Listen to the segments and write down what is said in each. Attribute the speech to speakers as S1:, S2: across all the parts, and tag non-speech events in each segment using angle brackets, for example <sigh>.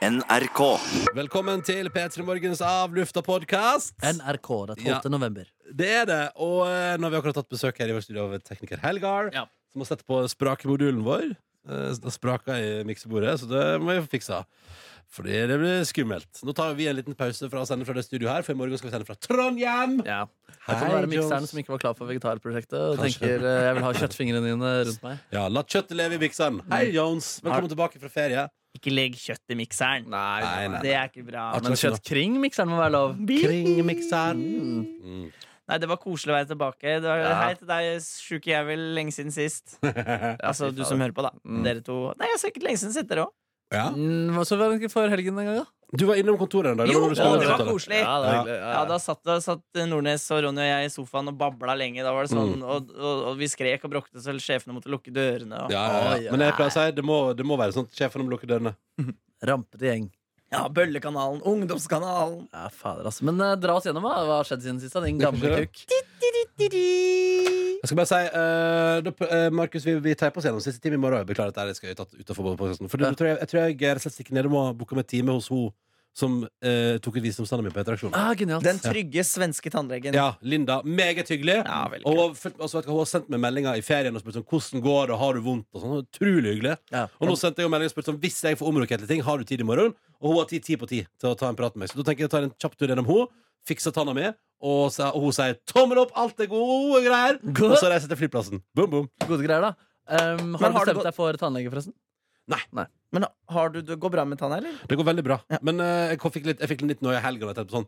S1: NRK.
S2: Velkommen til P3 Morgens avlufta-podkast.
S3: NRK den 12.
S2: Ja.
S3: november.
S2: Det er det. Og eh, nå har vi akkurat hatt besøk her i vårt studio av tekniker Helgar,
S3: Ja.
S2: som har sett på sprakemodulen vår. Eh, Det spraka i miksebordet, så det må vi få fiksa. Fordi det blir skummelt. Nå tar vi en liten pause fra å sende fra det studioet her, for i morgen skal vi sende fra Trondheim.
S3: Ja. Jeg kan være mikseren
S2: Jones.
S3: som ikke var klar for vegetarprosjektet. Og
S2: Kanskje.
S3: tenker eh, jeg vil ha <laughs> kjøttfingrene dine rundt meg.
S2: Ja, La kjøttet leve i mikseren. Hei,
S3: Mm.
S2: Jones. Velkommen tilbake fra ferie.
S4: Ikke legg kjøtt i mikseren.
S2: Nei, nei,
S4: Det er ikke bra.
S2: Artig.
S4: Men,
S3: Men kjøtt kring mikseren må være lov.
S2: Kring mikseren.
S3: Mm.
S4: nei, det var koselig å være tilbake. Det var,
S3: Ja.
S4: Hei til deg, sjuke jævel, lenge siden
S2: <laughs>
S4: sist. altså du som hører på, da.
S3: Mm.
S4: Dere to. Nei, jeg har sikkert lenge siden sist, dere òg.
S2: Ja.
S3: Mm, hva så var det ikke for helgen en gang, da?
S2: Du var innom kontoret en dag.
S4: Jo,
S2: var når du skulle
S4: det var
S2: avtale.
S4: koselig.
S3: Ja, det var hyggelig.
S4: Ja, da satt, da satt Nordnes og Ronny og jeg i sofaen og babla lenge. Da var det
S2: Mm.
S4: sånn, og, og, og vi skrek og brokte så sjefene måtte lukke dørene. Og,
S2: ja, ja,
S3: Oi,
S2: ja.
S3: ja.
S2: Men jeg pleier å si det må, det må være sånn at sjefen må lukke dørene.
S3: Rampete gjeng.
S4: ja, Bøllekanalen, Ungdomskanalen.
S3: Ja, fader, altså. Men eh, dra oss gjennom hva Hva har skjedd siden sist, da, din gamle
S2: Kanskje.
S3: kukk.
S2: Jeg skal bare si, eh, da, eh, Markus, vi, vi teiper oss gjennom siste time i morgen. Jeg Beklager at jeg skal tatt utenfor både podcasten. For
S3: Ja.
S2: du, tror jeg, jeg tror jeg rett og slett stikker ned og må booke meg time hos hun som eh, tok ut visdomstanna mi på interaksjon.
S3: Ah, genialt.
S4: Den trygge svenske tannlegen.
S2: Ja, Linda. Meget hyggelig.
S4: Ja, veldig
S2: og hun, har fulgt- altså, vet du hva, hun har sendt meg meldinger i ferien og spurt sånn, hvordan går det, har du vondt? Og sånn, Utrolig hyggelig.
S3: Ja.
S2: Og nå sendte jeg jo melding og spurte sånn, hvis jeg får omrokert litt ting, har du tid i morgen? Og hun har tid ti på ti til å ta en prat med meg. Så da tenker jeg å ta en kjapp tur gjennom henne, fikse tanna mi, og, så- og hun sier tommel opp, alt er gode greier.
S3: God-
S2: Og så reiser jeg til flyplassen. Boom, boom.
S3: Gode greier, da. Um, har du
S4: Men har du
S3: bestemt
S4: gått-
S3: deg for tannlege, forresten?
S4: Men har du, det går bra med tanna, eller?
S2: Det går veldig bra.
S4: Ja.
S2: Men eh, jeg, fikk litt, jeg fikk litt noe i helga. da, etterpå, Sånn.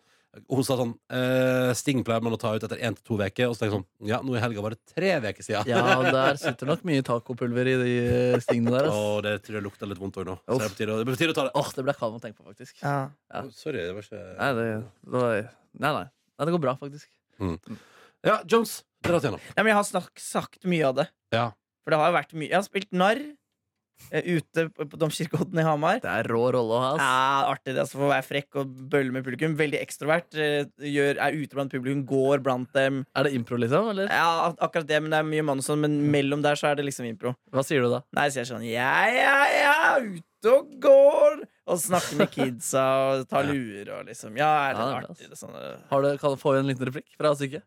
S2: Hun sa sånn eh, Sting pleier man å ta ut etter én til to uker. Og så tenkte jeg sånn Ja, nå i helga var det tre uker siden. <laughs>
S3: Ja, der sitter nok mye tacopulver i de eh, stingene der. Ass.
S2: Og det tror jeg lukta litt vondt òg nå. Så
S3: Uff.
S2: det er på tide, å- det er på tide å ta det.
S3: Åh, det ble kaldt å tenke på, faktisk.
S4: Ja.
S3: Ja.
S2: Sorry, det var ikke
S3: Nei, det, det var, nei, nei. nei, det går bra, faktisk.
S2: Ja, Jones. Dra oss gjennom.
S4: Nei, men jeg har snak, sagt mye av det.
S2: Ja.
S4: For det har jo vært mye Jeg har spilt narr eh, ute på på Domkirkeodden i Hamar.
S3: Det er rå rolle å ha. ass.
S4: Ja, artig det, altså, for å være frekk og bølle med publikum. Veldig ekstrovert. eh, Gjør, er ute blant publikum, går blant dem.
S3: Er det impro, liksom? Eller?
S4: Ja, ak- akkurat det, men det er mye manus og sånn, men mellom der så er det liksom impro.
S3: Hva sier du da?
S4: Nei, så jeg sånn Ja, ja, ja, ute og går! Og snakker med kidsa
S3: <laughs>
S4: og tar luer og liksom Ja, er
S3: Ja, det
S4: det
S3: er bra,
S4: artig? Det, er sånn, eh.
S3: Har du, kan, får vi en liten replikk fra Syke?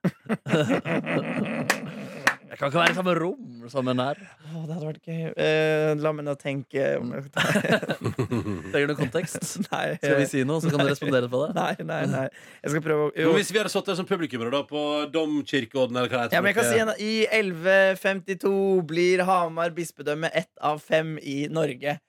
S3: Jeg kan ikke være i samme rom som en her.
S4: Å, det hadde vært gøy. Eh, la meg nå tenke om jeg
S3: Trenger du kontekst?
S4: <laughs> Nei.
S3: Mm. Skal vi si noe, så kan du respondere på det?
S4: <laughs> Nei, nei, nei. Jeg skal prøve å
S2: Men
S4: jo.
S2: hvis vi hadde satt der som publikummere da, på Domkirkeodden eller hva det heter
S4: Ja, men jeg kan
S2: for
S4: si
S2: noe-
S4: en, I 1152 blir Hamar bispedømme ett av fem i Norge.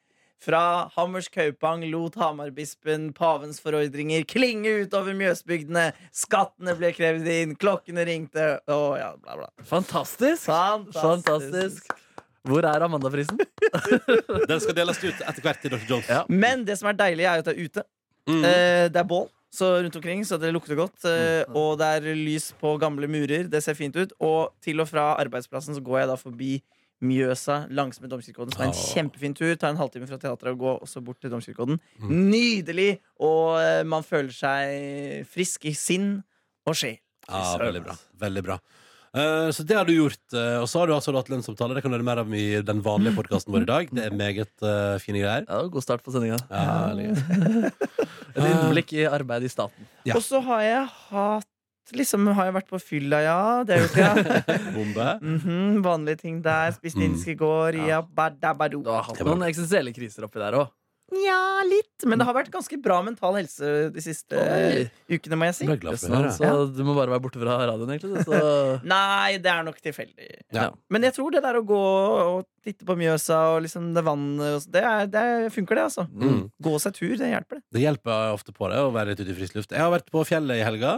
S4: Fra Hammerskaupang lot Hamarbispen pavens forordringer klinge utover Mjøsbygdene. Skattene ble krevd inn, klokkene ringte Å ja, bla, bla.
S3: Fantastisk! Fantastisk.
S4: Fantastisk.
S3: Hvor er Amanda-prisen?
S2: Den skal deles ut etter hvert til Dr. Jones.
S3: Ja.
S4: Men det som er deilig, er jo at det er ute.
S2: Mm.
S4: Eh, det er bål så rundt omkring, så det lukter godt. Eh,
S2: Mm.
S4: og det er lys på gamle murer. Det ser fint ut. Og til og fra arbeidsplassen så går jeg da forbi Mjøsa langsmed Domkirkeodden, som er en
S2: Åh.
S4: kjempefin tur. Tar en halvtime fra teatret og går også bort til Domkirkeodden.
S2: Mm.
S4: Nydelig! Og eh, man føler seg frisk i sinn og sjel.
S2: Ja, veldig bra.
S4: altså.
S2: Veldig bra. Eh, så det har du gjort. eh, og så har du altså hatt lønnssamtale. Det kan du høre mer om i den vanlige podkasten vår i dag. Det er meget eh, fine greier.
S3: Ja, god start på sendinga.
S2: Ja, herlig.
S3: Et innblikk i arbeidet i staten.
S2: Ja.
S4: Og så har jeg hatt Liksom har jeg vært på fylla, ja. Det har jeg
S2: <laughs>
S4: gjort, ja.
S2: Bombe.
S4: Mhm, vanlige ting der.
S2: Mm.
S4: Spiste indisk i går. Ja, badabado.
S3: Du har hatt noen eksistensielle kriser oppi der òg.
S4: Ja, litt. Men det har vært ganske bra mental helse de siste
S3: Oi.
S4: ukene, må jeg si.
S2: Jeg ble glad for å høre.
S3: Så du må bare være borte fra radioen, egentlig. du, Så
S4: Nei, det er nok tilfeldig.
S2: Ja.
S4: Men jeg tror det der å gå og titte på Mjøsa og liksom det vannet og så- det, er, det funker, det, altså.
S2: Mm.
S4: Gå seg tur, det hjelper, det.
S2: Det hjelper ofte på det å være litt ute i frisk luft. Jeg har vært på fjellet i helga.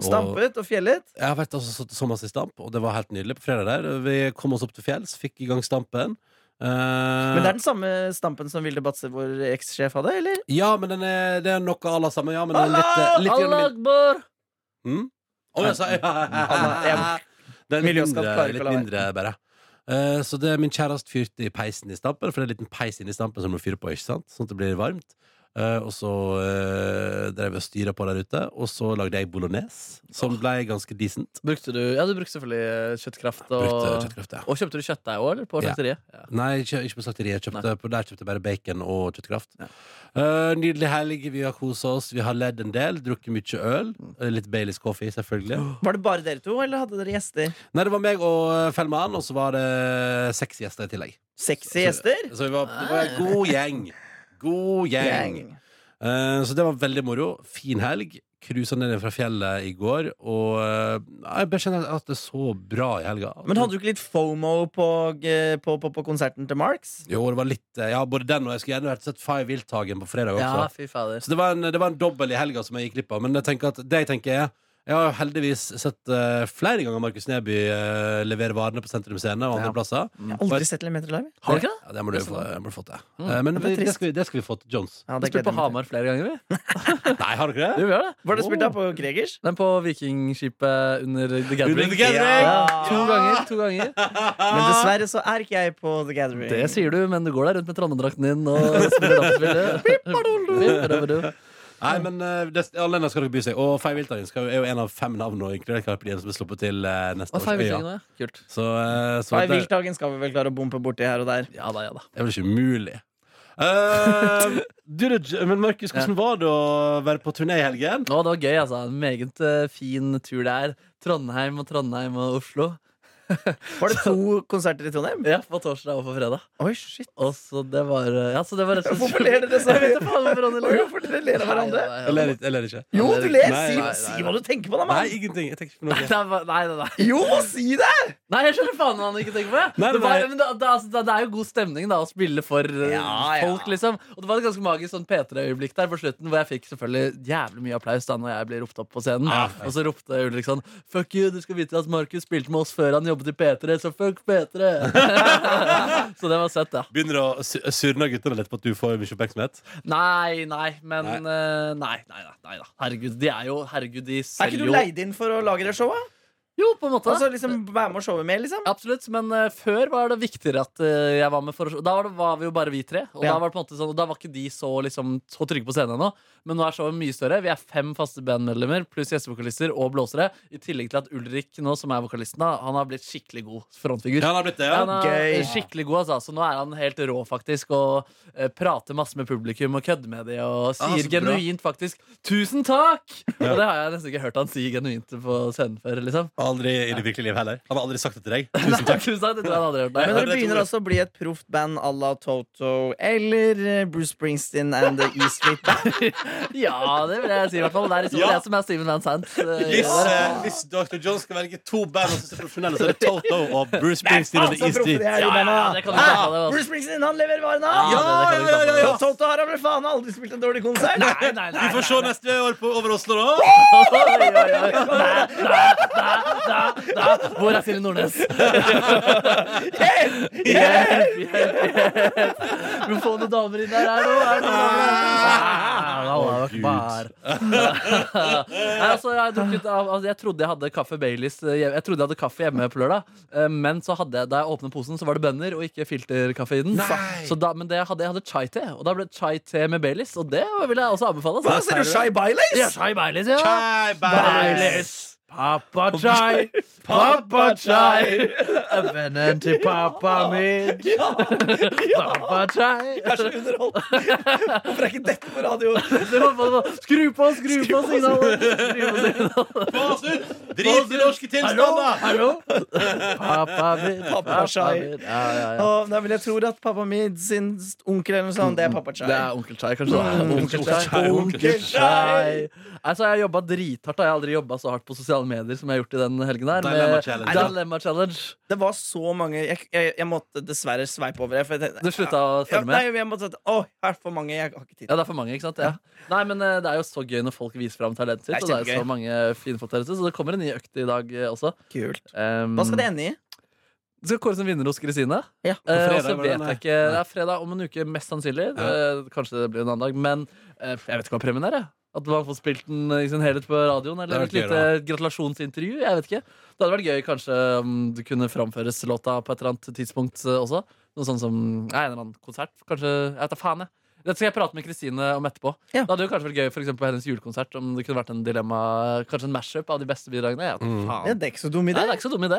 S2: og-
S4: Stampet og fjellet.
S2: Jeg har vært altså satt sommers i stamp, og det var helt nydelig på fredag der. Vi kom oss opp til fjells, fikk i gang stampen. Eh,
S4: Men det er den samme stampen som Vilde Batse, vår ekssjef, hadde, eller?
S2: Ja, men den er, det er noe à la sammen. Ja, men den er
S4: Allah!
S2: litt, litt grann
S3: Allah
S2: min-
S3: akbar!
S2: Mm? Å, jeg sa <laughs>
S4: Alle- jeg-
S2: Det er litt
S4: Miljøskatt
S2: mindre,
S4: klarer ikke å
S2: litt
S4: la være.
S2: mindre bare. Eh, så det er min kjæreste fyrte i peisen i stampen, for det er en liten peis inni stampen som du fyrer på, ikke sant? Sånn at det blir varmt. Eh, og så eh, drev jeg og styra på der ute, og så lagde jeg bolognese, som ble ganske decent.
S3: Brukte du Ja, du brukte selvfølgelig eh, kjøttkraft. Og,
S2: Brukte kjøttkraft, ja.
S3: og kjøpte du kjøttdeig òg, eller? På
S2: Ja.
S3: slakteriet? Ja.
S2: Nei, ikke, ikke på slakteriet. Jeg Kjøpte,
S3: Nei.
S2: på, der kjøpte jeg bare bacon og kjøttkraft.
S3: Ja.
S2: Eh, nydelig helg. Vi har kosa oss. Vi har ledd en del, drukket mye øl. Eh, Litt Baileys coffee, selvfølgelig.
S4: Var det bare dere to, eller hadde dere gjester?
S2: Nei, det var meg og eh, Fellmann, og så var det seks gjester i tillegg.
S4: Sexy gjester?
S2: Så vi var, det var en god gjeng. God gjeng.
S4: Gang.
S2: Eh, så det var veldig moro. Fin helg. Cruisa ned fra fjellet i går, og eh, jeg bare kjenner at det er så bra i helga.
S4: Men hadde du ikke litt fomo på, eh, på, på, på konserten til Marks?
S2: Jo, det var litt eh, Ja, både den og jeg skulle gjerne vært sett Five Wildtagen på fredag også.
S3: Ja, fy fader.
S2: Så det var en, det var en dobbel i helga som jeg gikk glipp av. Men jeg tenker at, det jeg tenker er jeg har jo heldigvis sett eh, flere ganger Markus Neby eh, levere varene på Sentrum Scene og andre
S3: Ja.
S2: plasser.
S4: Jeg Mm. har aldri sett Lemeter live.
S3: Har du ikke det?
S2: Ja, det må du få, jeg må du få til.
S3: Mm.
S2: Eh, men
S4: Ja, det er
S2: vi- det
S4: trist.
S2: skal, vi, det skal vi få til Jones.
S3: Vi
S4: Ja, det
S3: spilte på
S4: gleder jeg meg
S3: Hamar flere ganger, vi.
S2: Nei, har dere
S3: Jo,
S2: det?
S3: vi gjør det.
S4: til. Var det spilt da på Gregers?
S3: Den på Vikingskipet under The Gathering.
S2: The Gathering!
S3: Ja,
S4: Ja.
S3: to ganger. to ganger
S4: Men dessverre så er ikke jeg på The Gathering.
S3: Det sier du, men du går der rundt med Trondheim-drakten din og spiller <laughs> dataspill.
S2: Nei, men eh, det, alle navnene skal dere by seg. Og Fei Wiltagen skal jo- er jo en av fem navn, og inkludert Carpe Diem, som er sluppet til eh, neste
S3: Hva
S2: års
S3: feil
S2: Øya.
S3: nå, ja? Kult.
S2: Så, eh, så
S4: Nei,
S2: det,
S4: Vilthagen skal vi vel klare å bompe borti her og der.
S3: Ja da, ja da.
S2: det er vel ikke umulig. Eh, du, du, men Markus, hvordan var det å være på turné i helgen?
S3: Å, det var gøy, altså. En meget eh, fin tur det er. Trondheim og Trondheim og Oslo.
S4: Var det <laughs> to konserter i Trondheim?
S3: Ja, på torsdag og på fredag.
S4: Oi, shit.
S3: Og så det var eh, Ja, så det var rett og slett
S4: Hvorfor ler dere så
S3: Jeg vet ikke faen hvorfor
S4: Oi,
S3: Ronny
S4: Hvorfor dere ler av hverandre?
S2: Jeg ler litt- jeg ler ikke.
S4: Jo, du ler!
S2: Nei,
S4: Si,
S2: nei,
S4: si hva du tenker på, da,
S2: Nei,
S4: mann!
S2: ingenting. Jeg tenker ikke på
S3: Nei,
S2: noe.
S3: det er bare- nei, nei, nei.
S4: Jo, si det!
S3: nei, jeg skjønner faen hva han ikke tenker på. jeg.
S2: Nei, nei.
S3: det, var, men det, det, altså, det, det er jo god stemning da å spille for eh,
S4: Ja, ja.
S3: folk, liksom. Og det var et ganske magisk sånn P3-øyeblikk der på slutten, hvor jeg fikk selvfølgelig jævlig mye applaus da når jeg ble ropt opp på scenen.
S2: Ja.
S3: Og så ropte Ulrik sånn Fuck you, du skal vite at Markus spilte med oss før han jobbet i P3, så fuck P3! <laughs> så det var søtt, ja.
S2: Begynner å su- surne guttene litt på at du får mye oppmerksomhet?
S3: Nei, nei, men
S2: Nei.
S3: eh, nei. nei, nei, nei da. Herregud, de er jo Herregud, de
S4: Er ikke
S3: selger
S4: du
S3: jo
S4: leid inn for å lage det showet?
S3: Jo, på en måte.
S4: Altså, liksom, Være med og showe med, liksom?
S3: Absolutt, men eh, før var det viktigere at eh, jeg var med for å Da var, det, var vi jo bare vi tre, og
S4: Ja.
S3: da var det på en måte sånn Og da var ikke de så, liksom, så trygge på scenen ennå. Men nå er showet mye større. Vi er fem faste bandmedlemmer pluss gjestevokalister og blåsere. I tillegg til at Ulrik nå, som er vokalisten, da, han har blitt skikkelig god frontfigur.
S2: Ja, han har blitt det, ja.
S3: Ja, Han er
S4: Gøy.
S3: skikkelig god, altså. Så nå er han helt rå, faktisk, og eh, prater masse med publikum og kødder med dem og
S2: Ah,
S3: sier
S2: så bra.
S3: genuint faktisk 'tusen takk'!
S2: Ja.
S3: Og det har jeg nesten ikke hørt han si genuint på scenen før, liksom.
S2: Aldri i det virkelige liv heller. Han har aldri sagt det til deg.
S3: Tusen takk. <laughs> Tusen takk, det tror jeg han aldri har hørt.
S4: Men
S3: Nei.
S2: Ja,
S4: dere
S2: det tror
S4: begynner
S2: jeg.
S4: også å bli et proft band à la Toto eller eh, Bruce Springsteen and The E Street Band.
S3: Ja, det vil jeg si i hvert fall. Det er liksom
S2: Ja.
S3: det som er Steven Van Sant. eh,
S2: Hvis,
S3: gjør det.
S2: eh, hvis Dr. John skal velge to band som er profesjonelle, så er det Toto og Bruce Springsteen og
S4: Faen,
S2: The
S4: så
S2: East
S4: proffe de
S2: Street.
S4: er, de
S3: Ja,
S4: bandene,
S3: ja,
S4: da.
S3: det kan du ikke
S4: Ah,
S3: kalle det, altså.
S4: Bruce Springsteen, han leverer varene!
S3: Ja,
S4: Ja,
S3: det kan vi ikke ta på
S2: ja, ja.
S4: Og Toto her har vel faen aldri spilt en dårlig konsert!
S3: Nei, nei, nei,
S2: Vi får se neste år på Over Oslo, da.
S3: Oi, oi, oi. Da, da, da, da, da. Hvor er Silje Nordnes?
S4: Hjelp!
S3: Hjelp, hjelp, hjelp. Vi må få noen damer inn der her nå. Er det noen
S2: Å,
S3: damer?
S2: Gud.
S3: Bar. Nei, altså, jeg, drukket, av- altså, jeg trodde jeg hadde kaffe Baileys eh, hjem- Jeg trodde jeg hadde kaffe hjemme på lørdag, eh, men så hadde jeg, da jeg åpnet posen, så var det bønner og ikke filterkaffe i den.
S2: Nei.
S3: Så da, men det jeg hadde, jeg hadde chai-te, og da ble det chai-te med Baileys, og det vil jeg også anbefale.
S4: Hva
S3: altså.
S4: sier du, Shy Baileys?
S3: Ja, chai Baileys, ja.
S2: Hei,
S3: Baileys. Pappa chai, pappa chai, <laughs> vennen til pappa min. <laughs> Pappa chai.
S4: Jeg er så underholdt. Hvorfor er ikke dette på radio?
S3: Det var bare sånn, Skru på, skru på signalet! Skru på signalet.
S2: Pass ut! Drit i norske tilstander!
S3: Hallo? Pappa min, pappa
S4: Chai.
S3: min. Ja, ja, ja.
S4: Å, nei, men jeg tror at pappa min sin onkel eller noe sånt, det er pappa Chai.
S3: Det er onkel Chai, kanskje. det er.
S2: Onkel
S3: Onkel
S2: Chai,
S3: Chai.
S2: onkel
S4: Chai.
S3: Altså, jeg har jobba drithardt. da. Jeg har aldri jobba så hardt på sosiale medier som jeg har gjort i den helgen her.
S2: Dilemma
S3: med
S2: Challenge.
S3: Dilemma Challenge.
S4: Det var så mange Jeg, jeg, jeg måtte dessverre sveipe over det. For jeg tenkte,
S3: Du slutta å
S4: ja,
S3: følge
S4: nei,
S3: med?
S4: jeg måtte, å, her er for mange. Jeg har ikke tid.
S3: Ja, det er for mange, ikke sant? Ja. Nei, men eh, det er jo så gøy når folk viser fram talentet sitt.
S4: Det er
S3: Og det er
S4: kjempegøy.
S3: jo så mange fine folk der ute, så det kommer en ny økt i dag eh, også.
S4: Kult.
S3: Um,
S4: Hva skal det ende i?
S3: Det skal kåres en vinner hos Kristine.
S4: Ja.
S3: Eh,
S2: fredag
S3: og så
S2: var det,
S3: vet
S2: nei.
S3: jeg ikke Det er fredag om en uke, mest sannsynlig. Eh, kanskje det blir en annen dag. Men eh, jeg vet ikke hva premien er. Jeg. At man får spilt den i sin helhet på radioen. Eller
S2: Det
S3: et
S2: hadde vært
S3: lite gratulasjonsintervju. Jeg vet ikke Det hadde vært gøy kanskje om det kunne framføres låta på et eller annet tidspunkt eh, også. Noe sånn som ja, en eller annen konsert, kanskje. Jeg vet da faen, jeg. Dette skal jeg prate med Kristine om etterpå.
S4: Ja.
S3: Det hadde jo kanskje vært gøy for eksempel, på hennes julekonsert om det kunne vært en dilemma Kanskje en mashup av de beste bidragene. Ja,
S2: Mm.
S4: Ja,
S3: faen.
S4: det er ikke så dum
S3: Nei, det
S4: idé.
S3: er ikke så dum idé.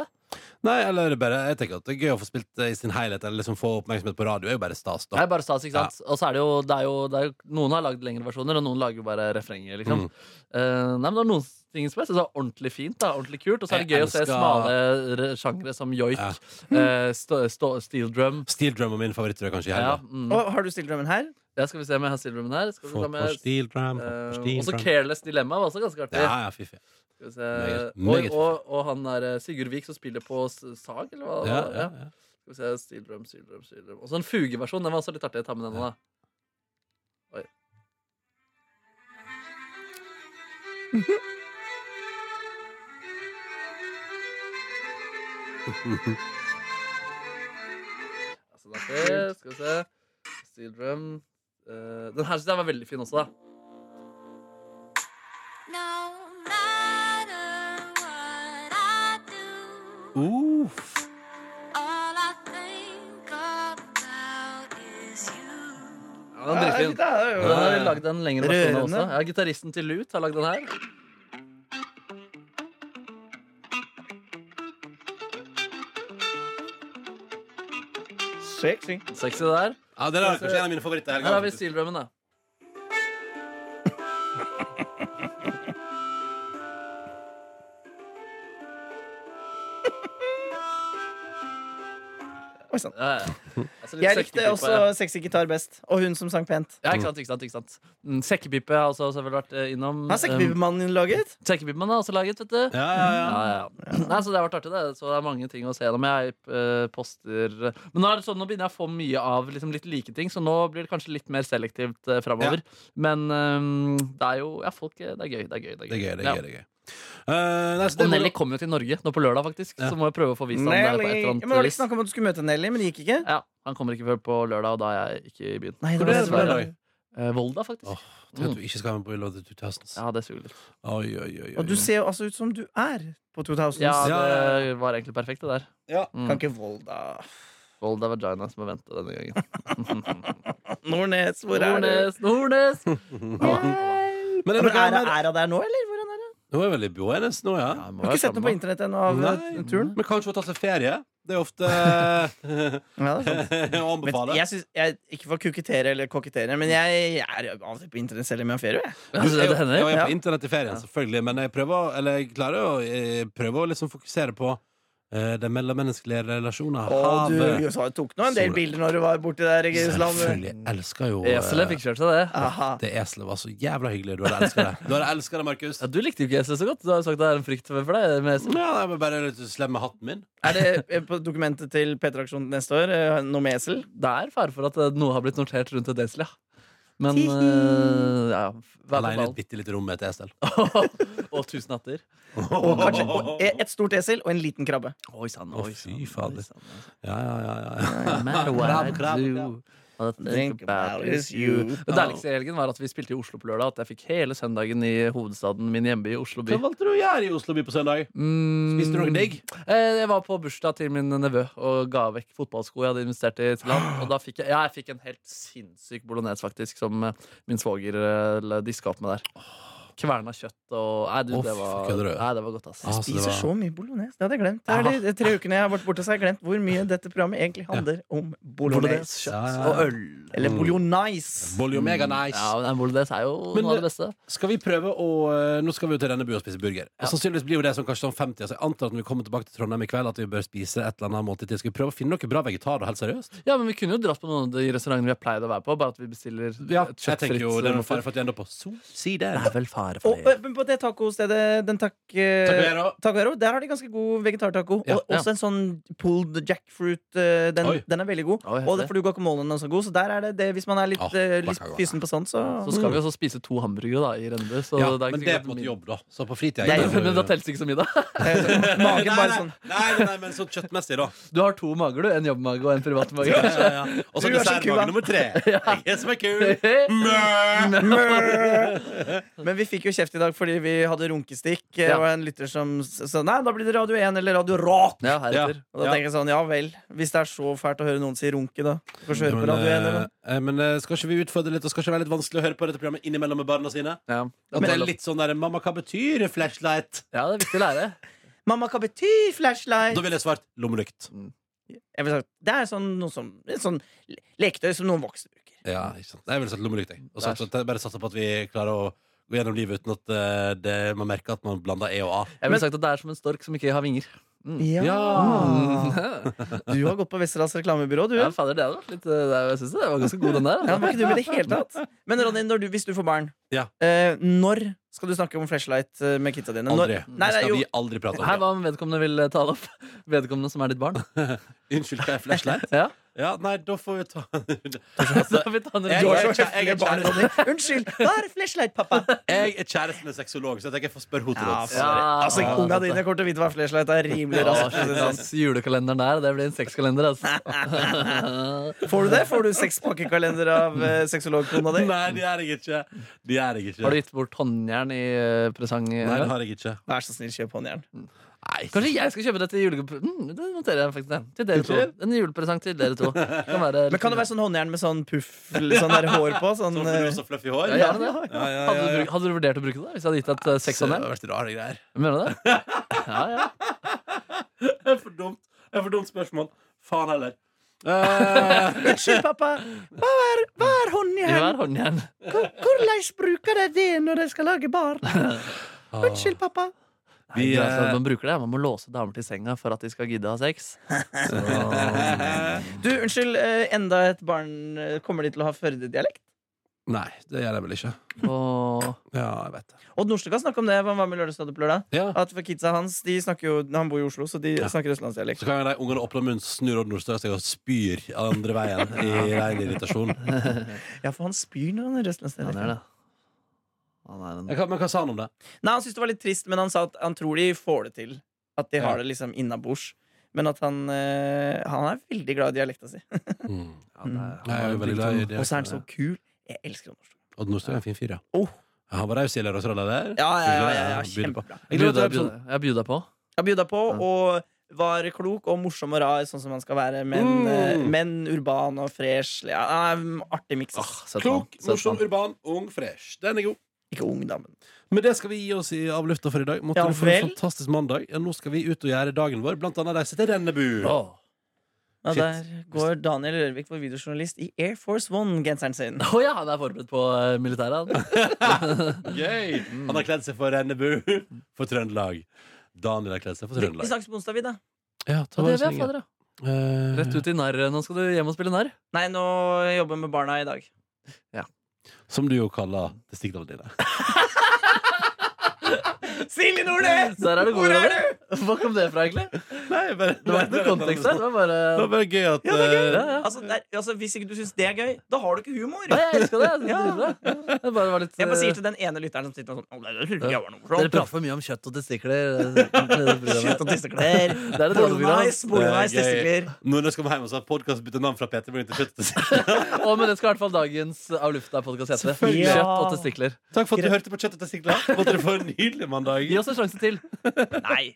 S2: Nei, eller bare, jeg tenker at det er gøy å få spilt det i sin helhet, eller liksom få oppmerksomhet på radio. Det er jo bare stas,
S3: Nei,
S2: da.
S3: bare stas, ikke sant? Og så er det jo, det er jo, det er jo Noen har lagd lengre versjoner, og noen lager jo bare refrenget. Liksom.
S2: Mm.
S3: Eh, nei, men det er noen ting som jeg synes er ordentlig fint. Da, ordentlig kult Og så er det
S2: Jeg
S3: gøy å se
S2: elsker-
S3: smale re- sjangre som joik,
S2: Ja.
S3: eh, stå- stå- steel drum.
S2: Steel drum er min favoritt, tror jeg kanskje. i
S3: Ja,
S2: helga.
S3: mm.
S4: Og har du stilt drømmen her?
S3: ja, skal vi se om jeg har steel drum her. Skal vi
S2: Få
S3: ta
S2: på
S3: med,
S2: steel drum, få
S3: eh,
S2: på steel
S3: også
S2: drum.
S3: Careless Dilemma var også ganske artig.
S2: Ja, ja, fy, fy.
S3: Skal vi se.
S2: Meget-
S3: og,
S2: meget
S3: og, og han der eh, Sigurd Vik som spiller på s- sag, eller hva?
S2: Ja, ja, ja.
S3: Skal vi se, Steel Drum, Steel Drum, Steel Drum. Også en fugeversjon. Den var også litt artig. Jeg tar med den nå, da. Oi. altså, det er det. Skal vi se. Steel Drum. Eh, den her synes jeg var veldig fin også, da.
S1: No matter what I do,
S2: Uff.
S1: all I think about is you.
S3: Ja, den
S4: Ja,
S3: er dritfin.
S4: det er
S3: Og Den har vi
S4: jo-
S3: lagd en lengre versjon av også.
S4: Rørende.
S3: Ja, Gitaristen til Lut har lagd den her.
S4: Sexy.
S3: Sexy der.
S2: Ja, det er kanskje en av mine favoritter i helga.
S3: Her har vi
S2: faktisk.
S3: Steel Drummen, da.
S4: Oi sann.
S3: Ja, ja. Altså, litt
S4: Jeg
S3: sekkepipe,
S4: likte også sexy gitar best. Og hun som sang pent.
S3: Ja, ikke sant, ikke sant, ikke sant. Mm, Sekkepipe har også selvfølgelig vært eh, innom.
S4: Har sekkepipemannen din laget?
S3: Um, Sekkepipen har også laget, vet du.
S2: Ja, ja, ja.
S3: Ja, ja. Nei, så Det har vært artig, det. Så det er mange ting å se gjennom. Jeg eh, poster Men nå er det sånn, nå begynner jeg å få mye av liksom, litt like ting, så nå blir det kanskje litt mer selektivt uh, framover. Men eh, det er jo Ja, folk eh, Det er gøy. Det er gøy.
S2: Det er gøy, det
S3: Ja.
S2: er gøy. Det er gøy. Eh, nei, så det
S3: Og
S2: må
S3: Nelly
S2: du-
S3: kommer jo til Norge nå på lørdag, faktisk.
S2: Ja.
S3: Så må jeg prøve å få vist ham der på et
S4: Nelly.
S3: eller
S4: Ja,
S3: annet
S4: men var det
S3: vis.
S4: ikke snakk om at du skulle møte Nelly, men det gikk ikke?
S3: Ja, Han kommer ikke før på lørdag, og da er jeg ikke i byen.
S4: Nei,
S2: Hvor er
S4: var
S2: det på
S4: dessverre.
S2: lørdag?
S3: Eh, Volda, faktisk.
S2: Åh, Tenk at du ikke skal være med på Reloaded 2000s.
S3: Ja, det suger litt.
S2: Oi, oi, oi, oi.
S4: Og du ser jo altså ut som du er på 2000s.
S3: Ja,
S2: Ja, ja,
S3: det var egentlig perfekt, det der.
S2: Ja.
S4: Kan
S3: Mm.
S4: ikke Volda
S3: Volda Vagina som må vente denne gangen.
S4: <laughs>
S2: <laughs>
S4: Nordnes, hvor er du?
S3: Nordnes, Nordnes!
S2: Men er
S4: Men
S2: det noe
S4: er
S2: mer?
S4: er hun der nå, eller? Hvor er hun der?
S2: Nå er jeg veldig bjåenes nå, ja.
S3: Ja, det må
S4: Jeg har
S3: være
S4: ikke sett noe
S3: samme.
S4: på internett ennå av
S2: Nei.
S4: eh, turen.
S2: Men kanskje hun har tatt seg ferie? Det er ofte <laughs> å
S4: Ja, det er <laughs> sant. Men
S2: anbefale.
S4: jeg synes, jeg, ikke for å kukettere eller kokettere, men jeg er jo av og til på internett selv om jeg har ferie. jeg.
S3: Ja, det, det
S2: Ja,
S3: hender.
S2: jeg er
S4: Ja.
S2: på internett i ferien, selvfølgelig, men jeg prøver, å- eller jeg klarer å, jeg prøver å liksom fokusere på eh, de mellommenneskelige relasjoner.
S4: Og du
S2: Havet.
S4: jo, så tok nå en del
S2: Sola.
S4: bilder når du var borti der i Russland.
S2: Selvfølgelig. Jeg elsker jo eh,
S3: Eselet fikk kjørt seg, det.
S4: Aha.
S2: Det eselet var så jævla hyggelig. Du hadde elska det. Du hadde elsket det, Markus.
S3: Ja, du likte jo ikke eselet så godt. Du har jo sagt det er en frykt for for deg. Med esel.
S2: Ja, jeg var bare litt slem med hatten min.
S4: Er det eh, på dokumentet til P3-aksjonen neste år eh, noe med <laughs> esel?
S3: Det er fare for at eh, noe har blitt notert rundt et esel, ja. Men
S4: Hihi.
S3: eh, ja, vær på
S2: Alene i et bitte lite rom med et esel.
S3: <laughs> ballen. Og tusen hatter.
S4: Og kanskje og e- et stort esel og en liten krabbe.
S3: Oi sann,
S2: Å,
S3: oi sann.
S2: fy
S3: oi
S2: fader.
S3: sann.
S2: Ja, ja, ja, ja, ja.
S3: No matter what I
S2: Krabbe, krabbe,
S3: do, what I
S4: Think about is you.
S3: Det deiligste i helgen var at vi spilte i Oslo på lørdag. At jeg fikk hele søndagen i hovedstaden min hjemby, Oslo by.
S2: Hva valgte du å gjøre i Oslo by på søndag?
S3: Mm.
S2: Spiste du noe digg?
S3: Eh, Jeg var på bursdag til min nevø og ga vekk fotballsko jeg hadde investert i. til han Og da fikk jeg, ja, jeg fikk en helt sinnssyk bolognese, faktisk, som eh, min svoger eh, diska opp med der. Kverna kjøtt og Nei, du,
S2: Å,
S3: det,
S2: fy,
S3: var,
S2: kødder du?
S3: nei det var godt, ass.
S2: Ah, så det
S4: Spiser
S2: var-
S4: så mye bolognese. Det hadde jeg glemt. Det er de, de tre ukene jeg har vært borte, så har jeg glemt hvor mye dette programmet egentlig handler om bolognese.
S3: Bolognese,
S2: Ja,
S3: kjøtt
S2: ja, ja.
S3: og øl.
S4: Eller bolognise.
S2: Bolly Omega Nice.
S3: Ja, men Bolognese er jo
S2: Men
S3: noe av
S2: det-
S3: det beste.
S2: Skal vi prøve å eh, Nå skal vi jo til denne byen og spise burger. Og Sannsynligvis blir jo det som kanskje sånn 50 altså Jeg antar at når vi kommer tilbake til Trondheim i kveld, at vi bør spise et eller annet måltid til. Skal vi prøve å finne noe bra vegetar, helt seriøst?
S3: Ja, men Vi kunne jo dratt på noen av de restaurantene vi har pleid å være på. Bare at vi bestiller et
S2: jeg tenker
S3: kjøttfritt
S2: jo det er noe
S3: måltid.
S2: fare for at vi ender på
S3: Det
S2: solside.
S3: er vel fare
S4: Og
S3: for det.
S4: eh, men på det tacostedet, den tak... eh,
S2: Taco
S4: Taco, der har de ganske god vegetartaco.
S2: Ja.
S4: og også en sånn pulled jackfruit. eh, Den,
S2: Oi.
S4: den er veldig god.
S3: Oi, heftig.
S4: og det er fordi guacamolen er også god, så der er det det hvis man er litt,
S2: Ah,
S4: eh, litt
S2: guacamole.
S4: fysen på sånn, så,
S3: Så skal vi også spise to hamburgere da, i Rennebu. Så
S2: mm. Ja,
S3: det er ikke
S2: men det er på en
S3: sikkert at
S2: måte
S3: min-
S2: jobb, da. Så på fritida
S4: Det er-
S2: kan du-
S3: Men da telles det ikke som middag.
S4: <laughs> eh,
S2: Nei,
S4: Magen
S2: nei,
S4: bare
S2: nei, <laughs>
S4: sånn.
S2: nei, nei, nei, men sånn kjøttmessig, da.
S3: Du har to mager, du. En jobbmage og en privat
S2: <laughs>
S3: mage.
S2: Ja, ja, ja. Og så
S4: Du er så kul,
S2: <laughs>
S4: da.
S2: dessertmage nummer tre. Jeg som er kul.
S3: Hei.
S2: Mø!
S4: Mø. Men vi fikk jo kjeft i dag fordi vi hadde runkestikk, eh,
S3: Ja.
S4: og en lytter som s- sa nei, da blir det Radio 1 eller Radio Rock.
S3: <laughs> Ja, heretter.
S4: Og da
S2: Ja.
S4: tenker jeg sånn, ja vel. Hvis det er så fælt å høre noen si runke, da. Du Kanskje høre på
S2: Men,
S4: Radio 1 eller
S2: eh,
S4: noe.
S2: eh, men eh, skal ikke vi utfordre litt, og skal ikke det være litt vanskelig å høre på dette programmet innimellom med barna sine?
S3: Ja.
S2: At det er litt sånn der, Mamma, hva betyr flashlight?
S3: ja, det er viktig å lære.
S4: Mamma, hva betyr flashlight?
S2: Da ville jeg svart lommelykt.
S4: Jeg vil sagt, det er sånn, noe som, et sånn le- leketøy som noen voksne bruker.
S2: Ja, ikke sant Nei, Jeg ville sagt lommelykt, jeg. Og
S3: Der.
S2: satsa- bare satsa på at vi klarer å gå gjennom livet uten at eh, det, man merker at man blander E og A.
S3: Jeg
S4: Men-
S3: ville sagt at det er som en stork som ikke har vinger. Mm.
S4: Ja.
S2: <laughs>
S3: Mm.
S4: Du har gått på Westerdals reklamebyrå, du.
S3: Ja,
S4: Ja,
S3: fader, det hadde vært litt eh, det- Jeg synes det var ganske god, den der. altså.
S4: det var ikke du med i det hele tatt. Men Ronny, når du, hvis du får barn,
S2: Ja.
S4: eh, når skal du snakke om flashlight eh, med kidsa dine? Når,
S2: Aldri.
S4: nei,
S2: det
S4: nei,
S2: skal
S4: jo,
S2: vi aldri prate om.
S3: Her, hva om vedkommende vil eh, ta det opp? <laughs> Vedkommende som er ditt
S2: <laughs>
S3: barn?
S2: Unnskyld, hva er flashlight? <laughs>
S3: Ja.
S2: ja, nei, da får vi ta <laughs>
S3: Så vi tar
S2: Altså,
S3: den
S2: Jeg-
S4: du
S3: rundt.
S4: har så
S2: jeg er kjære-
S4: heftige barn, Ronny. Unnskyld. Da er det flashlight, pappa.
S2: Jeg er kjæreste med sexolog, så jeg tenker jeg får spørre henne til råds.
S4: Ja, Altså, Unga dine kommer til å vite hva flashlight er. Rimelig
S3: Ja,
S4: raskt.
S3: shit, ass. Julekalenderen der, det blir en sexkalender, altså.
S4: Får du det? Får du sekspakkekalender av eh, sexologkona di?
S2: Nei, det er jeg ikke. Det er jeg ikke.
S3: Har du gitt bort håndjern i eh, presang?
S2: Nei, det
S3: Eller?
S2: har jeg ikke.
S4: Vær så snill, kjøp håndjern.
S2: Nei,
S3: Kanskje jeg skal kjøpe det til julegave... Mm, det noterer jeg faktisk. det. Til dere to. En julepresang til dere
S2: <laughs>
S3: to. Kan være,
S4: Men kan det være sånn håndjern med sånn puff eller sånn der hår på? Sånn,
S2: Sånn
S4: eh,
S2: rosa fluffy hår?
S3: ja, gjerne det.
S2: Ja, ja,
S3: Hadde, du,
S2: ja, ja.
S3: bruk- hadde du vurdert å bruke det hvis jeg hadde gitt deg et eh,
S2: Det
S3: sexhåndjern?
S2: har vært rare greier. <laughs>
S3: Mener du det? Ja, ja.
S2: Det er for dumt. Det er for dumt spørsmål. Faen heller. Eh,
S4: Unnskyld, pappa. Hva er, hva
S3: I
S4: er
S3: hver
S4: håndjern?
S3: håndjern.
S4: Hvordan bruker de det når de skal lage barn? Unnskyld, pappa.
S2: Vi,
S3: Nei, altså,
S2: eh,
S3: man bruker det. Man må låse damer til senga for at de skal gidde å ha
S2: <laughs>
S3: sex. Så,
S4: Du, unnskyld, eh, enda et barn eh, Kommer de til å ha førdedialekt?
S2: <laughs> nei, det gjør jeg vel ikke.
S3: og,
S2: Ja, jeg vet det.
S4: Odd Nordstoga snakka om det. Han var med i Lørdagsrådet på lørdag.
S2: Ja.
S4: At for kidsa hans, de snakker jo, Han bor i Oslo, så de
S2: Ja.
S4: snakker østlandsdialekt.
S2: Så kan de ungene åpne munnen, så snur Odd Nordstø seg og spyr andre veien i ren <laughs> irritasjon.
S4: Ja, for han spyr når han er
S3: ja, det
S4: østlandsdialekt.
S3: er det. Han er en
S2: Ja, hva- Men hva sa han om det?
S4: Nei, han syntes det var litt trist, men han sa at han tror de får det til. At de har
S2: Ja.
S4: det liksom innabords. Men at han, eh, han er veldig glad i dialekta si.
S2: Mm.
S3: ja, det er,
S2: Nei, jeg er veldig glad i
S4: Og så er han så
S2: det.
S4: kul. Jeg elsker han norsk.
S2: Odd Nordstø er en fin fyr, ja.
S4: Oh.
S2: Ja, Han var raus i Lørdagsrollen der.
S4: Ja, ja, ja, ja, ja,
S2: Byr på.
S4: kjempebra.
S2: Jeg
S3: Jeg
S2: gleder meg til
S3: bjuda,
S2: episoden.
S3: jeg bjuda på.
S4: Jeg bjuda på
S3: Ja.
S4: og var klok og morsom og rar, sånn som man skal være. Men, eh,
S2: Mm.
S4: men urban og fresh. Ja, eh, artig miks. ass.
S3: Ah, søt mann,
S2: sånn Klok,
S3: søt
S2: morsom,
S3: mann.
S2: urban, ung, fresh. Den er god.
S4: Ikke ung, da, men
S2: Men det skal vi gi oss i av lufta for i dag. Måtte
S4: Ja
S2: du få en
S4: vel.
S2: fantastisk mandag. Ja, nå skal vi ut og gjøre dagen vår. Blant annet reise til Rennebu.
S3: Åh.
S4: ja,
S2: Shit.
S4: Der går Daniel Rørvik, vår videojournalist, i Air Force One-genseren sin.
S3: Å ja, han er forberedt på eh, militæret, han.
S2: Gøy!
S3: Mm.
S2: Han har kledd seg for Rennebu. <laughs> For Trøndelag. Daniel har kledd seg for
S4: Vi, vi
S2: Trøndelag.
S4: snakkes på onsdag, vi, da.
S2: Ja, ta
S3: Ja,
S2: vare
S3: det vet jeg,
S2: på
S3: fader, ja.
S2: Eh,
S3: Rett ut i narr. Nå skal du hjem og spille narr.
S4: Nei, nå jobber jeg med barna i dag.
S2: Som du jo kaller distriktene dine.
S3: <laughs>
S4: Silje Nordnes!
S3: Der er du god,
S4: Hvor er
S3: Ronny. Hva kom det fra, egentlig?
S2: <laughs> Nei, bare,
S3: Det var ikke noe kontekst her. Det var bare
S2: Det var bare gøy at
S4: Ja, det er
S2: eh,
S4: gøy.
S3: Ja, ja.
S4: Altså, det er- altså, hvis ikke du syns det er gøy, da har du ikke humor.
S3: Nei, jeg elska det. Jeg synes det
S4: Ja.
S3: var dritbra. Det bare var litt
S4: Jeg bare sier
S3: eh,
S4: til den ene lytteren som sitter og sånn «Å, det synes jeg var noe
S3: Dere
S4: morsomt».
S3: prater for mye om kjøtt og testikler. eh, i det programmet.
S4: <laughs> Kjøtt og tisseklær.
S3: Det er et dårlig program.
S4: Bolognese, bolognese,
S2: Det er
S4: testikler.
S2: Når jeg skal hjem og så har podkast byttet navn fra Peter Brun til Kjøtt.
S3: Å, men det skal i hvert fall dagens Av lufta-podkast hete.
S4: Selvfølgelig.
S3: Kjøtt
S4: Ja.
S3: og testikler.
S2: Takk for at du hørte på Kjøtt og testikler. Måtte du få en nydelig mandag.
S3: Gi oss en sjanse til.
S4: Nei.